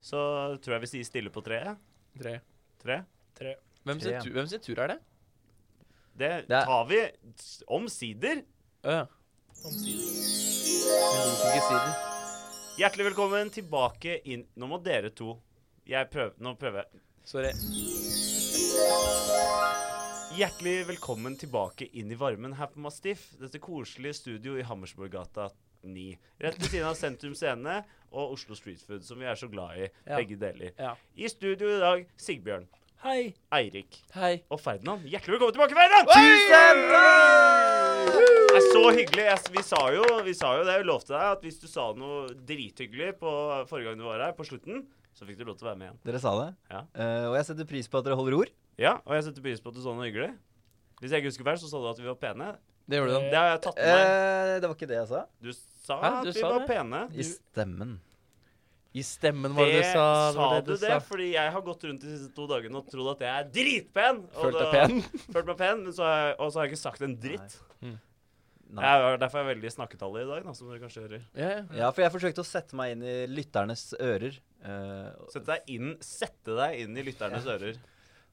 så tror jeg vi sier stille på treet. Tre. Tre. Tre. Hvem sin, Tre, ja. tu- hvem sin tur er det? Det er- tar vi s- omsider. Å ja. Omsider. Jeg liker ikke siden. Hjertelig velkommen tilbake inn Nå må dere to Jeg prøver Nå prøver jeg. Sorry. Hjertelig velkommen tilbake inn i varmen her på Mastiff. Dette koselige studio i Hammersborggata 9. Rett ved siden av Sentrum Scene og Oslo Street Food, som vi er så glad i, Ja. begge deler. Ja. I studio i dag Sigbjørn, Hei. Eirik Hei. og Ferdinand. Hjertelig velkommen tilbake, Ferdinand! Tusen Det er så hyggelig. Jeg, vi, sa jo, vi sa jo det, jeg lovte deg, at hvis du sa noe drithyggelig på forrige gang du var her, på slutten, så fikk du lov til å være med igjen. Dere sa det. Ja. Eh, og jeg setter pris på at dere holder ord. Ja, og jeg setter pris på at du sa noe hyggelig. Hvis jeg ikke husker feil, så sa du at vi var pene. Det gjorde du. Det har jeg tatt med meg. Eh, det var ikke det jeg sa. Du sa Eh, Hæ, at du vi sa var det? pene. I stemmen. I stemmen var det Det du sa. sa, var du det, fordi jeg har gått rundt de siste to dagene og trodd at jeg er dritpen. og Følte da- deg pen? Følt meg pen, men så har jeg, og så har jeg ikke sagt en dritt. Nei. Jeg er, derfor er jeg veldig snakketallig i dag, da, som dere kanskje hører. Ja, ja. Ja, for jeg forsøkte å sette meg inn i lytternes ører. eh, Sette deg inn, sette deg inn i lytternes ører.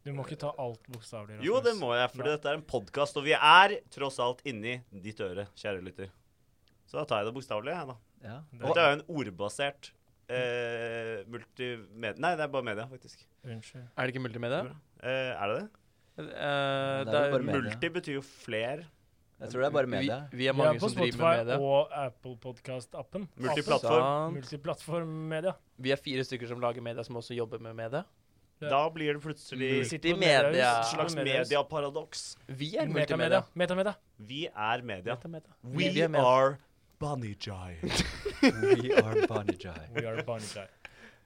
Du må ikke ta alt bokstavelig. Jo, det må jeg, for dette er en podkast, og vi er tross alt inni ditt øre, kjære lytter. Så da tar jeg det bokstavelig, jeg, da. ja. Det- Dette er jo en ordbasert eh, multimedia Nei, det er bare media, faktisk. Unnskyld. Er det ikke multimedia? Eh, er det det? Eh, Det er jo bare media. Multi betyr jo fler. Jeg tror det er bare media. Vi, vi er Vi mange er på som driver med Spotify media. og Apple Podcast-appen. Multiplattform. Sant. Multiplattform-media. Vi er fire stykker som lager media, som også jobber med media. Ja. Da blir det plutselig Vi et sitter i media. Ja. slags mediaparadoks. Vi er multimedia. Metamedia. Metamedia. Vi er media. Metamedia. We Media, media. are bunny giant. We are Barnejai. We are Barney Guy.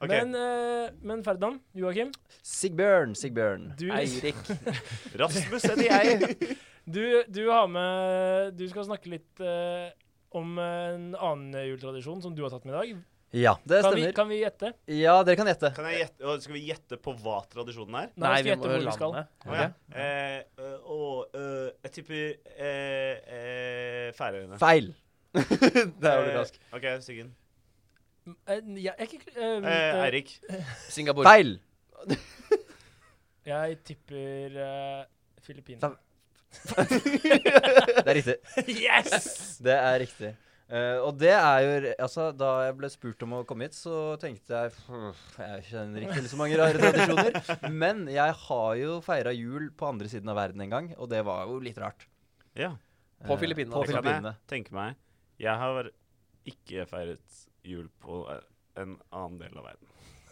Ok. Men, eh, men Ferdinand, Joakim, Sigbjørn, Sigbjørn. du, Eirik. Rasmus heter jeg. du, du har med Du skal snakke litt eh, om en annen juletradisjon som du har tatt med i dag. Ja, det Kan vi, stemmer. kan vi gjette? Ja, dere kan gjette. Kan jeg gjette, å, skal vi gjette på hva tradisjonen er? Nei, vi gjette må hvor høre skal. landet. Å ja. Eh, eh, og eh, jeg tipper eh, eh, Færøyene. Feil. Der var du Eh, rask. OK, Siggen. Eh, Jeg, jeg, er ikke- Eh, eh, eh, Eirik. Singapore. Feil. jeg tipper eh, Filippinene. Da- Det er riktig. Yes! Det er riktig. Eh, og det er jo re- Altså, da jeg ble spurt om å komme hit, så tenkte jeg "Pff, Jeg kjenner ikke til så mange rare tradisjoner. Men jeg har jo feira jul på andre siden av verden en gang, og det var jo litt rart. Ja. På Eh, Filippinene. liksom. På Det kan Filippinene. jeg tenke meg. Jeg har ikke feiret jul på eh, en annen del av verden.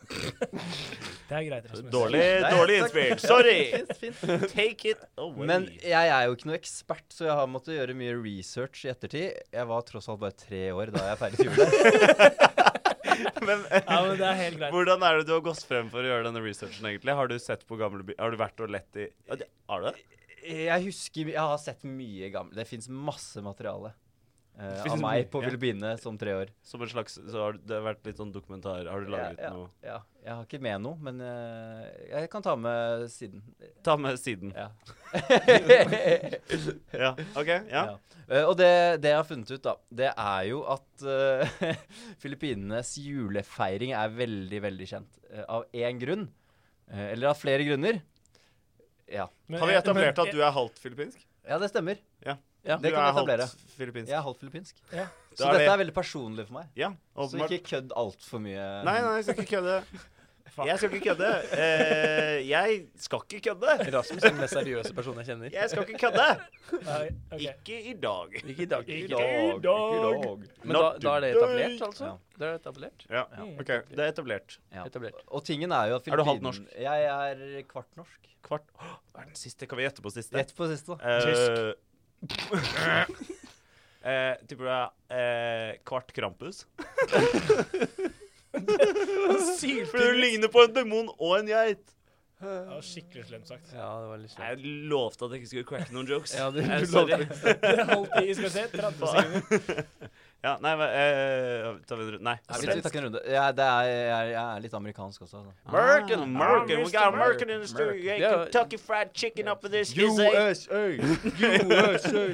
Det er greit, Rasmus. Dårlig, Nei, dårlig takk. innspill. Ja, Sorry! fint, fint. Take it away. Men jeg er jo ikke noe ekspert, så jeg har måttet gjøre mye research i ettertid. Jeg var tross alt bare tre år da jeg feiret jul der. Men, eh, Ja, men det er helt greit. hvordan er det du har gått frem for å gjøre denne researchen, egentlig? Har du sett på gamle by... Har du vært og lett i Ja, det- Har du det? Jeg husker Jeg har sett mye gamle Det fins masse materiale Det eh, av finnes meg mye, på ja. Filippinene som tre år. Som en slags Så har du- det har vært litt sånn dokumentar Har du laget ja, ja, noe Ja. Jeg har ikke med noe, men eh, jeg kan ta med siden. Ta med siden. Ja. Ja. OK? Ja. Ja. Eh, og det, det jeg har funnet ut, da, det er jo at eh, Filippinenes julefeiring er veldig, veldig kjent. eh, av én grunn. Eh, eller av flere grunner. Ja. Men- Har vi men- etablert at du er halvt filippinsk? ja, det stemmer. Ja. Det du kan er vi etablere. halvt filippinsk. Jeg er halvt filippinsk. Ja. Så Da er dette det- er veldig personlig for meg. Ja, Så åpenbart. ikke kødd altfor mye. Nei, nei, jeg skal ikke kødde. Jeg skal ikke kødde. Eh, jeg skal ikke kødde. Rasmus er den mest seriøse personen jeg kjenner. Jeg skal ikke kødde. Nei, ok. Ikke i dag. Ikke i dag. Ikke i Dag, dag. dag. Men da, Not da er det today. etablert, altså? Ja. Da er det etablert. Ja, Mm. ok, det er etablert. Ja. Etablert. Og tingen er jo at Er du halvt Filippinen- norsk? Jeg er kvart norsk. Kvart Åh, Hva er den siste? Kan vi gjette på siste? Rett på siste, da. Eh, Tysk. eh, Tipper du er eh, kvart Krampus? For du ligner på en demon og en geit. Ja, skikkelig slemt sagt. Ja, det var litt slemt. Jeg lovte at jeg ikke skulle cracke noen jokes. Ja, du, Eh, du sorry. lovte det. Det er alltid, vi skal se, 30 sekunder. Ja, nei, hva- eh, tar vi en runde? Nei. Nei, vi fortell. tar ikke en runde. Jeg, det er, jeg, jeg er litt amerikansk også. altså. Da. Merkin, Ah. Merkin. We got Mr. Merkin in the studio. Merkin. Yeah, Ja. Kentucky Fried Chicken up in this USA. USA! USA!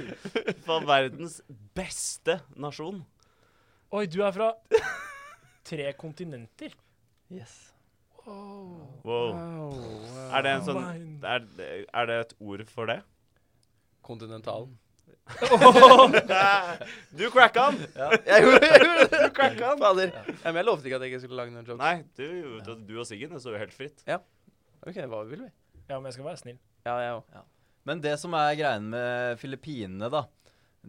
Fra verdens beste nasjon. Oi, du er fra tre kontinenter. Yes. Wow. Er det en sånn er, er det et ord for det? Kontinentalen. Du cracka den! Ja. Jeg gjorde det! Du cracka den! Fader. Ja, men jeg lovte ikke at jeg ikke skulle lage noen jokes. Nei, du, du og Siggen, det står jo helt fritt. Ok, hva vil vi? Ja, men jeg skal være snill. Ja, jeg òg. Men det som er greien med Filippinene, da,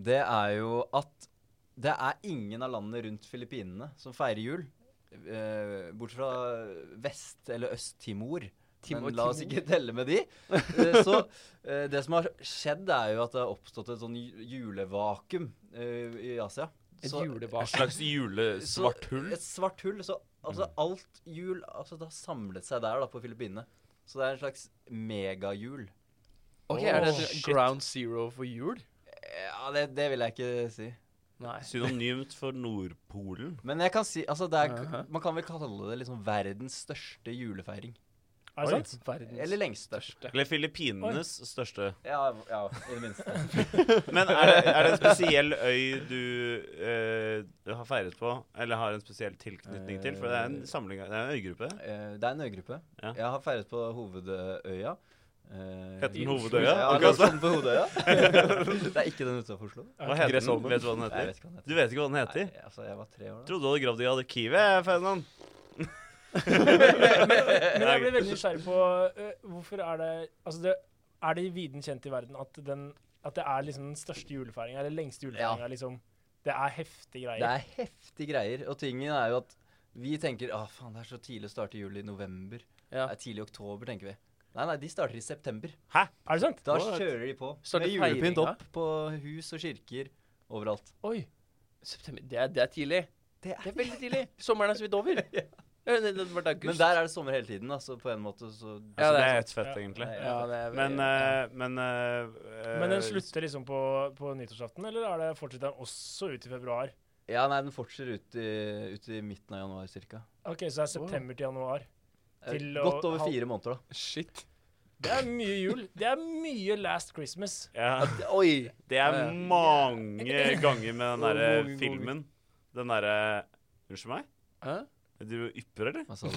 det er jo at det er ingen av landene rundt Filippinene som feirer jul. Eh, bortsett fra Vest- eller Øst-Timor. Timor- Men la oss Timor. ikke telle med de. Eh, så eh, det som har skjedd, er jo at det har oppstått et sånn ju- julevakuum eh, i Asia. Et Så- Et julebak. slags julesvart så- hull. Et svart hull. Så altså, alt jul altså, Det har samlet seg der, da, på Filippinene. Så det er en slags megajul. Ok, Er det Åh, et shit. ground zero for jul? Ja, det, det vil jeg ikke si. Nei. Synonymt for Nordpolen. Men jeg kan si altså det er, Aha. man kan vel kalle det liksom verdens største julefeiring. Er det sant? Verdens Eller lengst størst. største. Eller Filippinenes største. Ja, ja, i det minste. Men er det, er det en spesiell øy du, eh, du har feiret på, eller har en spesiell tilknytning til? For det er en samling av- Det er en øygruppe. Eh, det er en øygruppe. Ja. Jeg har feiret på Hovedøya. Eh, Heter den i Oslo. Hovedøya? Ja, Ok, la oss altså. kalle den på Hovedøya. det er ikke den utenfor Oslo. Hva heter den? Gressholmen. Vet du hva den Jeg heter? vet ikke hva den heter. Du vet ikke hva den heter? Nei, altså, jeg var tre år da. Trodde du hadde gravd i arkivet, Ferdinand. Men jeg blir veldig nysgjerrig på øh, hvorfor er det Altså, det, er det viden kjent i verden at, den, at det er liksom den største julefeiringa, eller lengste julefeiringa, liksom Det er Det heftige greier. er heftige greier. Og tingen er jo at vi tenker ah, faen, det er så tidlig å starte jul i november. Ja. Det er tidlig i oktober, tenker vi. Nei, nei, de starter i september. Er det sant? Da What? kjører de på. Starter med julepynt feiringa? opp på hus og kirker overalt. Oi. September. Det er, det er tidlig. Det Det er veldig tidlig. Sommeren er så vidt over. Ja. Det, det, det ble august. Men der er det sommer hele tiden, da, så på en måte så Ja, Altså, det er sant. ett fett, Ja. egentlig. Nei, altså. Ja, det er Men, eh, men eh, Men den eh, slutter liksom på, på nyttårsaften, eller er det fortsetter den også ut i februar? Ja, nei, den fortsetter ut i, ut i midten av januar cirka. OK, så det er september til januar. Eh, Til å- Godt over halv- fire måneder, da. Shit. Det er mye jul. Det er mye Last Christmas. ja, Oi. Det er Ja, ja. mange ganger med den derre Mange ganger. filmen. Den derre Unnskyld meg? Hæ? Er du ypper, eller? Hva sa du?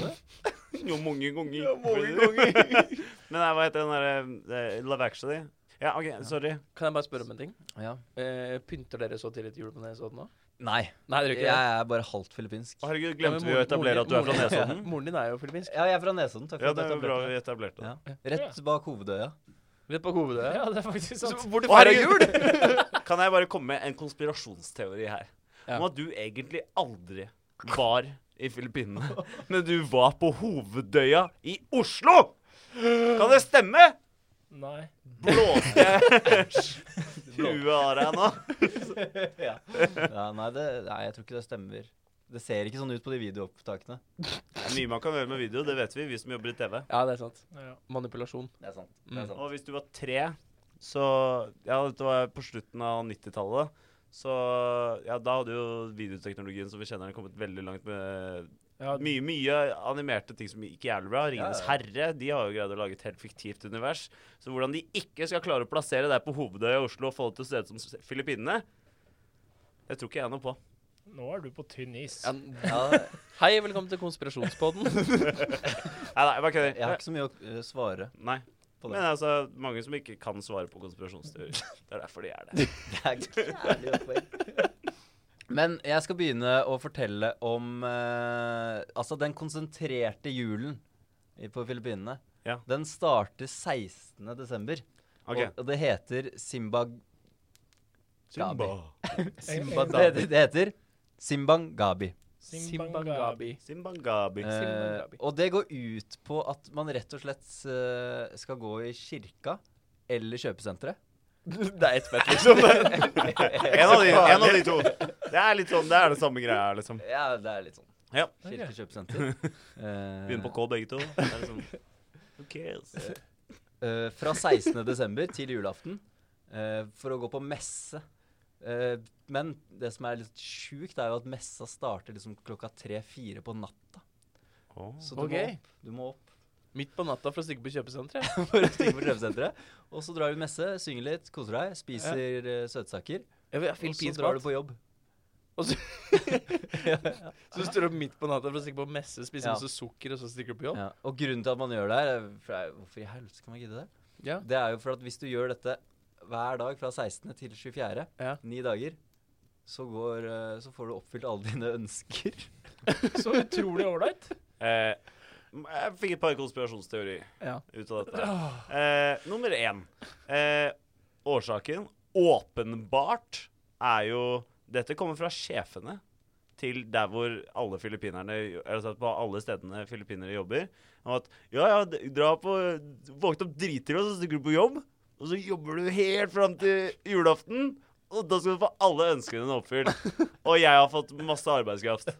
Jo, mange ganger. ganger. Men nei, hva heter den derre eh, Love Actually? Ja, OK, sorry. Kan jeg bare spørre om en ting? Ja. Eh, pynter dere så tidlig til jul på Nesodden nå? Nei, Nei, dere gjør jeg ikke det. er bare halvt filippinsk. Å, herregud, Ja, men glemte vi å moren- etablere at du er fra moren- Nesodden? Moren din er jo filippinsk. Ja, jeg er fra Nesodden. Takk for Ja, at det du er bra vi etablerte det. etablerte det. Ja. Rett bak hovedøya. Rett bak hovedet. Ja, det er faktisk Så sant. Hvor du Å, feirer jul! Kan jeg bare komme med en konspirasjonsteori her? Ja. Om at du egentlig aldri var i Filippinene, men du var på Hovedøya i Oslo! Kan det stemme? Nei. Blåste jeg huet av deg nå? ja. ja, nei, det, nei, jeg tror ikke det stemmer. Det ser ikke sånn ut på de videoopptakene. Mye man kan gjøre med video, det vet vi, vi som jobber i TV. Ja, det er sant. Ja. Manipulasjon. Det er sant. det er sant. Og hvis du var tre, så Ja, dette var på slutten av 90-tallet. Så ja, da hadde jo videoteknologien som vi kjenner den, kommet veldig langt med Ja, mye, mye animerte ting som gikk jævlig bra. 'Ringenes Ja, ja. herre' de har jo greid å lage et helt fiktivt univers. Så hvordan de ikke skal klare å plassere deg på hovedøya i Oslo og få det til å se ut som s- Filippinene, det tror ikke jeg noe på. nå er du på tynn is. Ja. Ja, Hei, velkommen til konspirasjonspodden. Nei, nei, jeg bare jeg har kødder. ikke så mye å eh, svare Nei. på Men det. altså, mange som ikke kan svare på konspirasjonsteorier. Det er derfor de er det. Det er ikke jævlig godt poeng. Men jeg skal begynne å fortelle om eh, Altså, den konsentrerte julen i- på Filippinene, Ja. den starter 16. desember. OK. Og, og det heter Simbag... Simba. Det heter, det heter Simbangabi. Simbangabi. Simbangabi. Eh, Simbangabi. og det går ut på at man rett og slett eh, skal gå i kirka eller kjøpesenteret. Det er ett fett, liksom. En av, de, en av de to. Det er litt sånn, det er det samme greia, liksom. Ja, det er litt sånn. Ja. Kirke, kjøpesenter. Eh, Begynner på K, begge to. Det er liksom, who cares? eh, fra 16. desember til julaften eh, for å gå på messe. Eh, men det som er litt sjukt, er jo at messa starter liksom klokka tre-fire på natta. Så du, Ok. må opp, du må opp Midt på natta for å stikke på kjøpesenteret. for å stikke på kjøpesenteret. Og så drar du messe, synger litt, koser deg, spiser eh, søtsaker. Ja, vi er Og så filippinsk drar mat. du på jobb. Og så, så står du opp midt på natta for å stikke på messe, spise Ja. masse sukker, og så stikker du på jobb. Ja. Og grunnen til at man gjør det her, er- for det er- hvorfor i helvete skal man gidde det? Ja. Det er jo for at hvis du gjør dette hver dag fra 16. til 24., Ja. ni dager, så, går, eh, så får du oppfylt alle dine ønsker. Så utrolig ålreit. Eh, jeg fikk et par konspirasjonsteorier Ja. ut av dette. Eh, nummer én. Eh, årsaken, åpenbart, er jo Dette kommer fra sjefene til der hvor alle filippinerne altså På alle stedene filippinere jobber. Og at ja, ja, d- dra på Våkne opp dritidlig, og så stikker du på jobb. Og så jobber du helt fram til julaften. Og da skal du få alle ønskene dine oppfylt. Og jeg har fått masse arbeidskraft.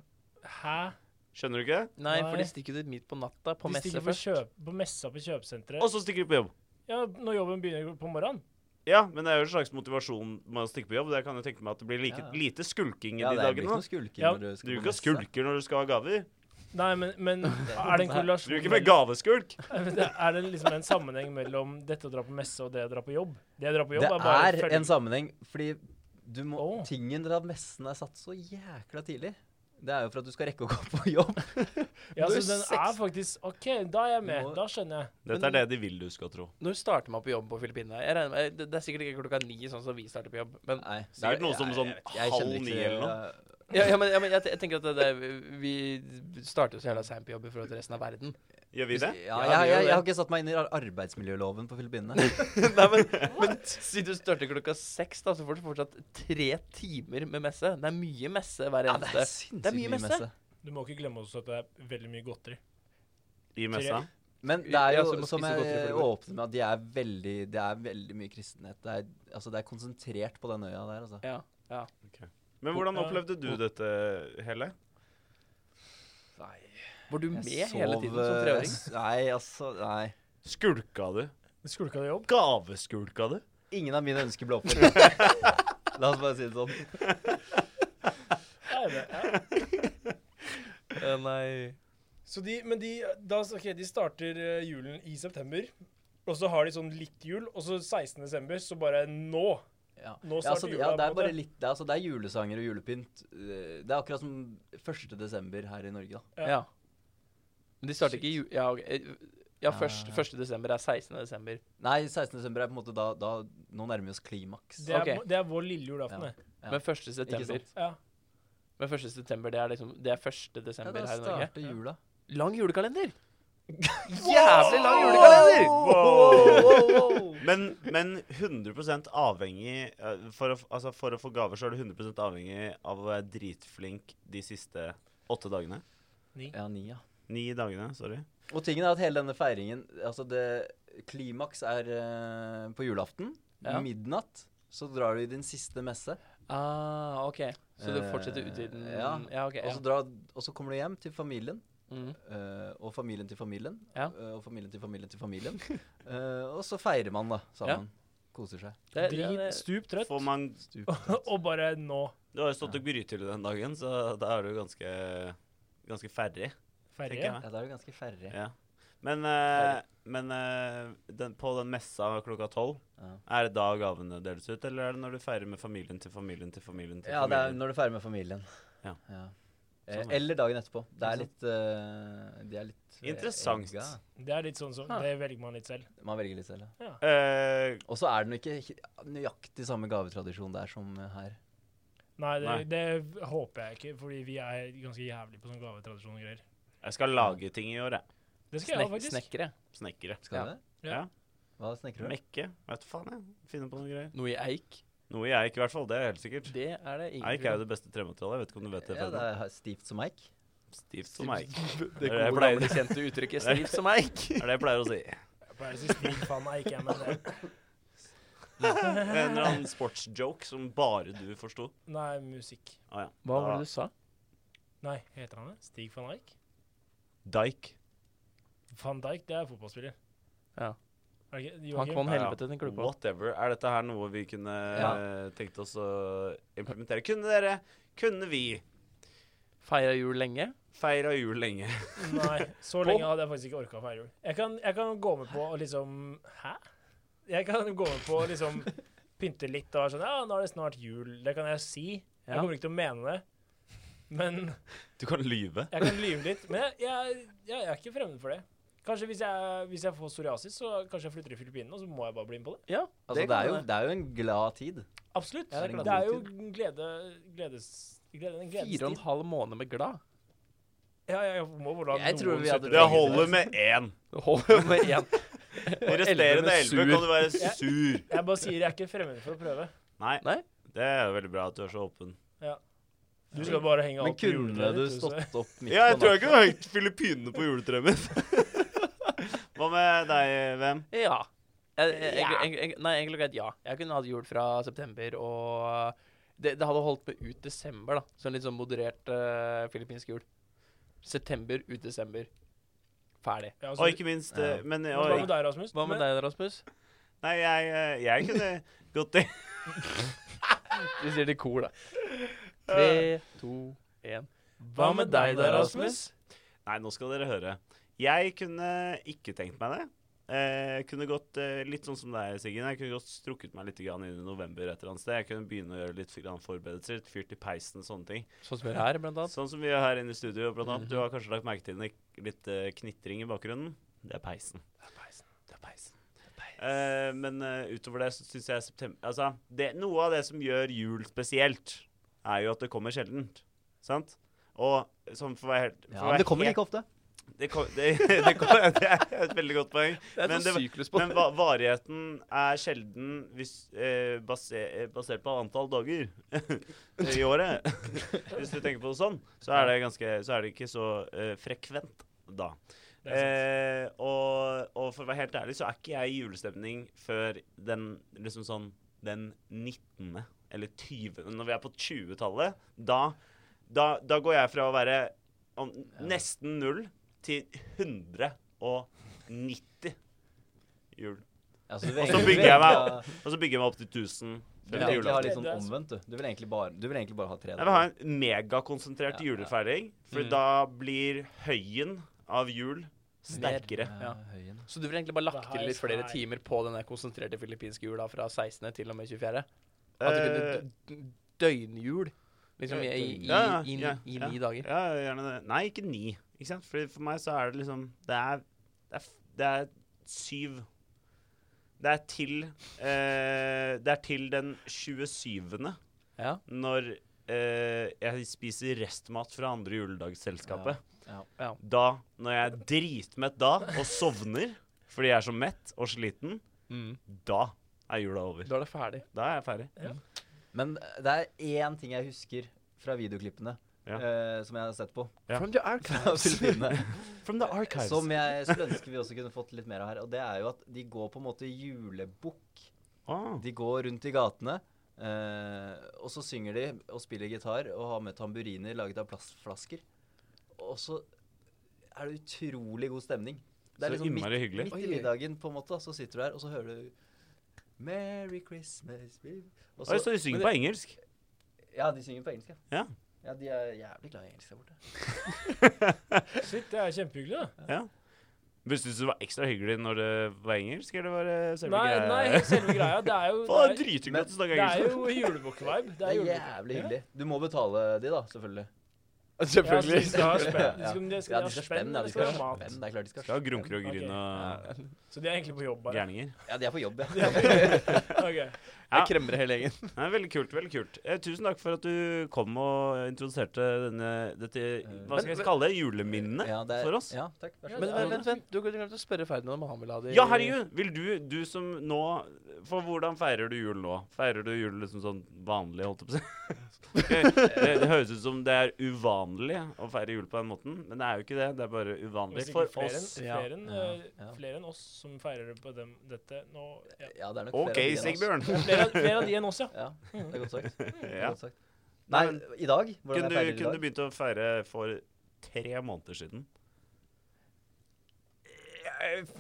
Hæ? Skjønner du ikke? Nei, for Nei. de stikker ut midt på natta, på På de messe stikker på, først. kjøp, på messa på kjøpesenteret. Og så stikker du på jobb. Ja, når jobben begynner på morgenen. Ja, men det er jo en slags motivasjon med å stikke på jobb. Jeg kan jo tenke meg at det blir like, Ja. lite skulking i Ja, de det blir ikke dagene. noe altså. skulking Ja, når du Du skal driver ikke på og messe. skulker når du skal ha gaver. Nei, men, men er det en Du korrelasjon driver ikke med gaveskulk. mellom- Er det liksom en sammenheng mellom dette å dra på messe og det å dra på jobb? Det å dra på jobb Det er bare er følge- en sammenheng, fordi du må, Åh. tingen til at messen er satt så jækla tidlig, det er jo for at du skal rekke å gå på jobb. Ja, Du så er den er seks- faktisk OK, da er jeg Du med. må- Da skjønner jeg. Dette er det de vil du skal tro. Når starter man på jobb på Filippinene? Jeg regner med, det, det er sikkert ikke klokka ni, sånn som vi starter på jobb. Men, Nei, det Sikkert er- noe som jeg- sånn jeg vet ikke, jeg halv kjenner ikke ni det, eller ja, ja, men, ja, men jeg, te- jeg tenker at det, det, vi starter jo så jævla seint på jobb i forhold til resten av verden. Gjør vi det? Ja, Ja, vi gjør jeg, jeg, jeg det. har ikke satt meg inn i ar- arbeidsmiljøloven på Filippinene. Nei, men, men si du starter klokka seks, da, så får du fortsatt tre timer med messe. Det er mye messe hver Ja, det er eneste. sinnssykt mye messe. Du må ikke glemme også at det er veldig mye godteri. I messa? Men det er Ja, så du jo, må som spise godteri jeg før du går. åpner med, at de er veldig, det er veldig mye kristenhet. Det er, altså, det er konsentrert på den øya der, altså. Ja, ja. Men hvordan Ja. opplevde du dette, Helle? Var du Jeg med hele tiden som sov, eh, treåring? s- Nei, altså, nei. Skulka du? Skulka du jobb? Gaveskulka du? Ingen av mine ønsker ble oppfylt. La oss bare si det sånn. Ja, jeg vet, ja. Eh, Nei. Så de, men de, da, ok, de starter eh, julen i september, og så har de sånn litt jul, og så 16. desember, så bare nå. Ja. Nå Ja, starter altså, jula, ja, på det en er bare måte. litt, det er, altså, det er julesanger og julepynt. Eh, Det er akkurat som 1. desember her i Norge, da. Ja. Ja. Men de starter ikke i ju... Ja, ok. Eh, ja Ja, først, ja, ja. 1. desember er 16. desember. Nei, 16. desember er på en måte da, da Nå nærmer vi oss klimaks. Det er, Ok. må- det er vår lille julaften, Ja. det. Ja. Men 1. september, sant? Ja. men 1. september det er liksom Det er 1. Ja, desember da her i Norge. starter jula. Lang julekalender! Jævlig lang julekalender! Men, men 100 avhengig eh, for å, f- altså for å få gaver så er du 100 avhengig av å være dritflink de siste åtte dagene. Ja, ni, ja. Ni dagene, sorry. Og tingen er at hele denne feiringen Altså, det Klimaks er eh, på julaften. Ja. Midnatt. Så drar du i din siste messe, Ah, OK. Så du Eh, fortsetter ut i den ja. Altså, ja OK. og, Ja. så drar, og så kommer du hjem til familien. Mm. eh, og familien til familien. Ja. eh, og familien til familien til familien. Eh, og så feirer man, da, sammen. Koser seg. Det, er- ja, Drit, det, stup trøtt, Får man og bare nå Du har jo stått og grythylle den dagen, så da er du ganske, ganske ferdig, tenker ferdig. jeg. Ja, da er du ganske ferdig. Ja. Men, eh, men eh, den, på den messa klokka tolv, Ja. er det da gavene deles ut, eller er det når du feirer med familien til familien til familien? til Ja, det er familien? når du feirer med familien. Ja. Eh, Sånn. eller dagen etterpå. Det Ikke er litt eh, De er litt eh, Interessant. egga. Det er litt sånn som, Ah. det velger man litt selv. Man velger litt selv, ja. Eh, Og så er det nok ikke he- nøyaktig samme gavetradisjon der som eh, her. Nei, det, Nei. det håper jeg ikke, fordi vi er ganske jævlig på sånn gavetradisjon og greier. jeg skal lage ting i år, jeg. Det skal jeg snek, ha, faktisk. snekkere. Snekkere. Skal Ja. du det? Ja. Hva snekrer du? Mekke. Vet faen, jeg. Finne på noen greier. Noe i eik. Noe jeg ikke, i hvert fall. Det er helt sikkert. Det er det ingen Eik er jo det beste trematerialet. Jeg vet ikke om du vet det. Ja, det Ferdinand. er stivt som eik. Stivt som eik. Det Jeg gode, pleier- gamle, kjente uttrykket 'stiv som eik'. Det er det jeg pleier å si. Jeg pleier å si stiv, faen meg ikke jeg, men det. En eller annen sportsjoke som bare du forsto. Nei, musikk. Ah, ja. Hva var Da- det du sa? Nei, heter han det? Stig van Eijk? Dike. Van Dijk, det er fotballspiller. Ja. Er det ikke? Han Joakim? kom helvete, tenker du på. Whatever. Er dette her noe vi kunne Ja. eh, tenkt oss å implementere? Kunne dere, kunne vi Feira jul lenge? feira jul lenge? Nei, så lenge hadde jeg faktisk ikke orka å feire jul. Jeg kan, jeg kan gå med på å liksom Hæ? Jeg kan gå med på å liksom pynte litt og være sånn Ja, nå er det snart jul. Det kan jeg si. Jeg Ja. kommer ikke til å mene det. Men Du kan lyve. jeg kan lyve litt. Men jeg, jeg, jeg er ikke fremmed for det. Kanskje hvis jeg, hvis jeg får psoriasis, så kanskje jeg flytter til Filippinene, og så må jeg bare bli med på det. Ja, Altså, det, kan er jo, hende. det er jo en glad tid. Absolutt. Ja, det er det, klart. er jo glede, gledes... Glede, en Fire og en gledestid. halv måned med glad. Ja, jeg, jeg må vel la Jeg tror noen vi hadde- slutte. Det holder med én. Det holder jo med én. De resterende elleve kan du være Ja. sur. Jeg bare sier jeg er ikke fremmed for å prøve. Nei, Nei? det er veldig bra at du er så åpen. Du skal bare henge Men alt på kunne juletreet du ditt, så- stått opp midt Ja, jeg på tror jeg kunne hengt Filippinene på juletreet mitt. Hva med deg, Vem? Ja. Jeg, jeg, jeg, Ja. jeg, jeg, nei, egentlig greit ja. Jeg kunne hatt jul fra september, og det, det hadde holdt meg ut desember, da. Så en litt sånn moderert eh, filippinsk jul. September ut desember. Ferdig. Ja, altså, Og ikke minst eh, Ja. Men Hva med og, deg, Rasmus? Hva med Men- deg, Rasmus? Nei, jeg, eh, jeg kunne gått i Vi sier det i kor, da. Tre, to, én. Hva med deg da, Rasmus? Nei, nå skal dere høre. Jeg kunne ikke tenkt meg det. Eh, Jeg kunne gått eh, litt sånn som deg, Siggen. Jeg kunne godt strukket meg litt grann inn i november et eller annet sted. Jeg kunne begynne å gjøre litt grann forberedelser. Fyrt i peisen, sånne ting. Sånn som vi er her, blant annet. Sånn som vi gjør her inne i studio, blant annet. Du har kanskje lagt merke til en k- litt eh, knitring i bakgrunnen. Det er peisen. Det er peisen. Eh, men eh, utover det så syns jeg september Altså, det, noe av det som gjør jul spesielt, er jo at det kommer sjeldent. Sant? Og sånn for å være helt for å Ja, være men det kommer helt- like ofte. det, kom, det, det, kom, det er et veldig godt poeng. Det er Men sånn det var- syklus på Men va varigheten er sjelden hvis, eh, base eh, basert på antall dager i året. hvis du tenker på det sånn, så er det, ganske, så er det ikke så eh, frekvent da. Det er sant. Eh, og, og for å være helt ærlig, så er ikke jeg i julestemning før den liksom sånn den 19. eller 20. Når vi er på 20-tallet, da, da, da går jeg fra å være om, nesten null til 190 jul. Altså, du vil Og så egentlig- bygger jeg meg- Og så bygger jeg meg opp til 1000 Du til vil egentlig ha julaften. litt sånn omvendt, du. Du vil egentlig bare, du vil egentlig bare ha tre Jeg vil ha en megakonsentrert Ja, ja. julefeiring, for Mm. da blir høyen av jul sterkere. Ja, Ja. Eh, høyen. Så du vil egentlig bare Det lagt her til litt er flere feil. timer på den der konsentrerte filippinske jula fra 16. til og med 24.? At du kunne Eh, d- d- døgnhjul liksom i, i, i, Ja, ja, i, ja, i ja. ni dager? Ja, gjerne det. Nei, ikke ni. Ikke sant? For, for meg så er det liksom Det er, det er, f- det er syv. Det er til eh, Det er til den 27. Ja. når eh, jeg spiser restmat fra andre juledagsselskapet. Ja, ja. Da, når jeg er dritmett da, og sovner fordi jeg er så mett og sliten, Mm. da er jula over. Da er det ferdig. Da er jeg ferdig. Men det er én ting jeg husker fra videoklippene Ja. eh, som jeg har sett på. Ja. From the Fra archives. Filippinene. From the archives. Som jeg skulle ønske vi også kunne fått litt mer av her. Og det er jo at de går på en måte julebukk. Ah. De går rundt i gatene, eh, og så synger de og spiller gitar og har med tamburiner laget av plastflasker. Og så er det utrolig god stemning. Det Så er liksom midt, innmari hyggelig. midt i middagen, på en måte, da, så sitter du der, og så hører du Merry Christmas baby». Og Oi, så de synger på engelsk. Ja, de synger på engelsk, ja. Ja. Ja, De er jævlig glad i engelsk der borte. Shit, det er kjempehyggelig, da. Men Syns du det var ekstra hyggelig når det var engelsk, eller var det selve Nei, greia? nei, selve greia. Det er jo, Faen, det er, drithyggelig at du snakker det er engelsk. jo julebukk-vibe. Det Det er er julebukk. jævlig hyggelig. Du må betale de, da, selvfølgelig. Ja, så de skal ha spenn. De Ja. skal, de skal, Ja, ha de skal spenne. Ja, de skal skal ha mat. spenne. Det er klart de skal Skal ha grunker og gryn Ok. og Så de er egentlig på jobb, bare. gærninger. Ja, de er på jobb, ja. Ok. Ja. Jeg kremmer hele gjengen. Nei, veldig kult. veldig kult. Eh, tusen takk for at du kom og introduserte denne, dette Hva skal jeg kalle det? Juleminnet? ja det er, For oss? Ja, takk. Vær så Men god. vent, vent, vent. du glemte å spørre Ferdinand om han ville ha det. i- Ja, herregud! Vil du, du som nå For hvordan feirer du jul nå? Feirer du jul liksom sånn vanlig, holdt jeg på å si? Det, det høres ut som det er uvanlig å feire jul på den måten, men det er jo ikke det. Det er bare uvanlig Hvis ikke for flere, oss. enn- ja. Flere, enn, eh, Ja, ja. flere enn oss som feirer på dem, dette nå ja. Ja, det er nok flere av OK, de enn oss. Sigbjørn. Det er flere, flere av de enn oss, ja. Ja, det er godt sagt. Det er Ja. godt sagt. Nei, Nei, i dag? Hvordan Kunne jeg du, feirer i kunne du dag? begynt å feire for tre måneder siden?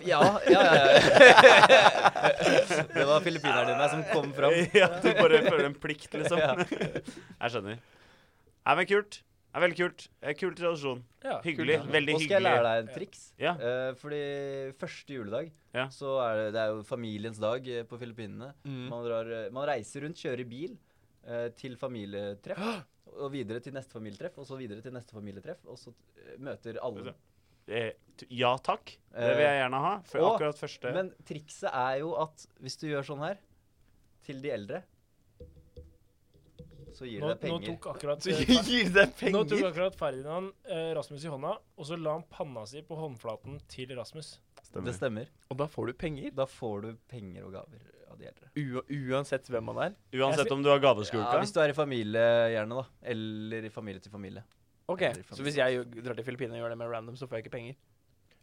Ja, ja, ja. ja. det var filippinerne dine som kom fram. Ja, du bare føler en plikt, liksom. Ja. Jeg skjønner. Nei, men kult. Det er veldig kult. Eh, Kul tradisjon. ja. Hyggelig. Veldig Nå skal jeg lære hyggelig. deg en triks. Ja. Eh, fordi første juledag, Ja. så er det, det er jo familiens dag eh, på Filippinene. Mm. Man, drar, eh, man reiser rundt, kjører bil. eh, eh, til familietreff, og videre til neste familietreff, og så videre til neste familietreff, og så eh, møter alle. Eh, t- ja takk. Det vil jeg gjerne ha. For og- akkurat første Eh, Men trikset er jo at hvis du gjør sånn her, til de eldre, så gir Nå, det nå penger. tok akkurat Så eh, Fer- gir deg Nå tok penger! akkurat Ferdinand eh, Rasmus i hånda, og så la han panna si på håndflaten til Rasmus. Det stemmer. Og da får du penger. Da får du penger og gaver av de eldre. U uansett hvem man er. Uansett om du har Ja, gaveskulka. hvis du er i familie, gjerne, da. Eller i familie til familie. Ok, Så hvis jeg gjør- drar til Filippinene og gjør det med random, så får jeg ikke penger?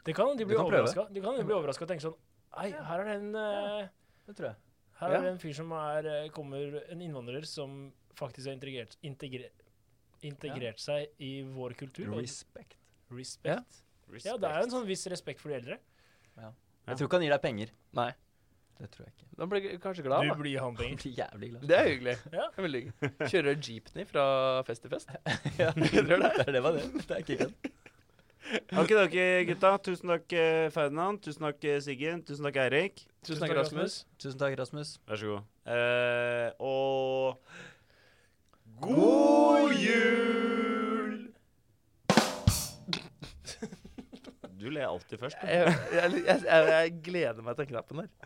Det kan de Du bli kan prøve. overraska. De kan jo bli overraska og tenke sånn Ei, her er det en, eh, Det tror jeg. her er Ja. det en fyr som er eh, Kommer En innvandrer som faktisk har integrert, integre, integrert seg i vår kultur. og Respect. Respekt. Ja. det er jo en sånn viss respekt for de eldre. Jeg tror ikke han gir deg penger. Nei. Det tror jeg ikke. Da blir jeg kanskje glad, Du da. blir Han han penger. blir jævlig glad. Det er hyggelig. Ja. Det er veldig hyggelig. Kjører jeepney fra fest til fest. Ja, tror det. Det var det. Det er ikke kødd. Ok, ok, gutta. Tusen takk, eh, Ferdinand. Tusen takk, eh, Siggen. Tusen takk, Eirik. Tusen takk, Rasmus. Tusen takk, Rasmus. Vær så god. Eh, og God jul! Du ler alltid først. du. Jeg, jeg, jeg, jeg, jeg gleder meg til knappen der.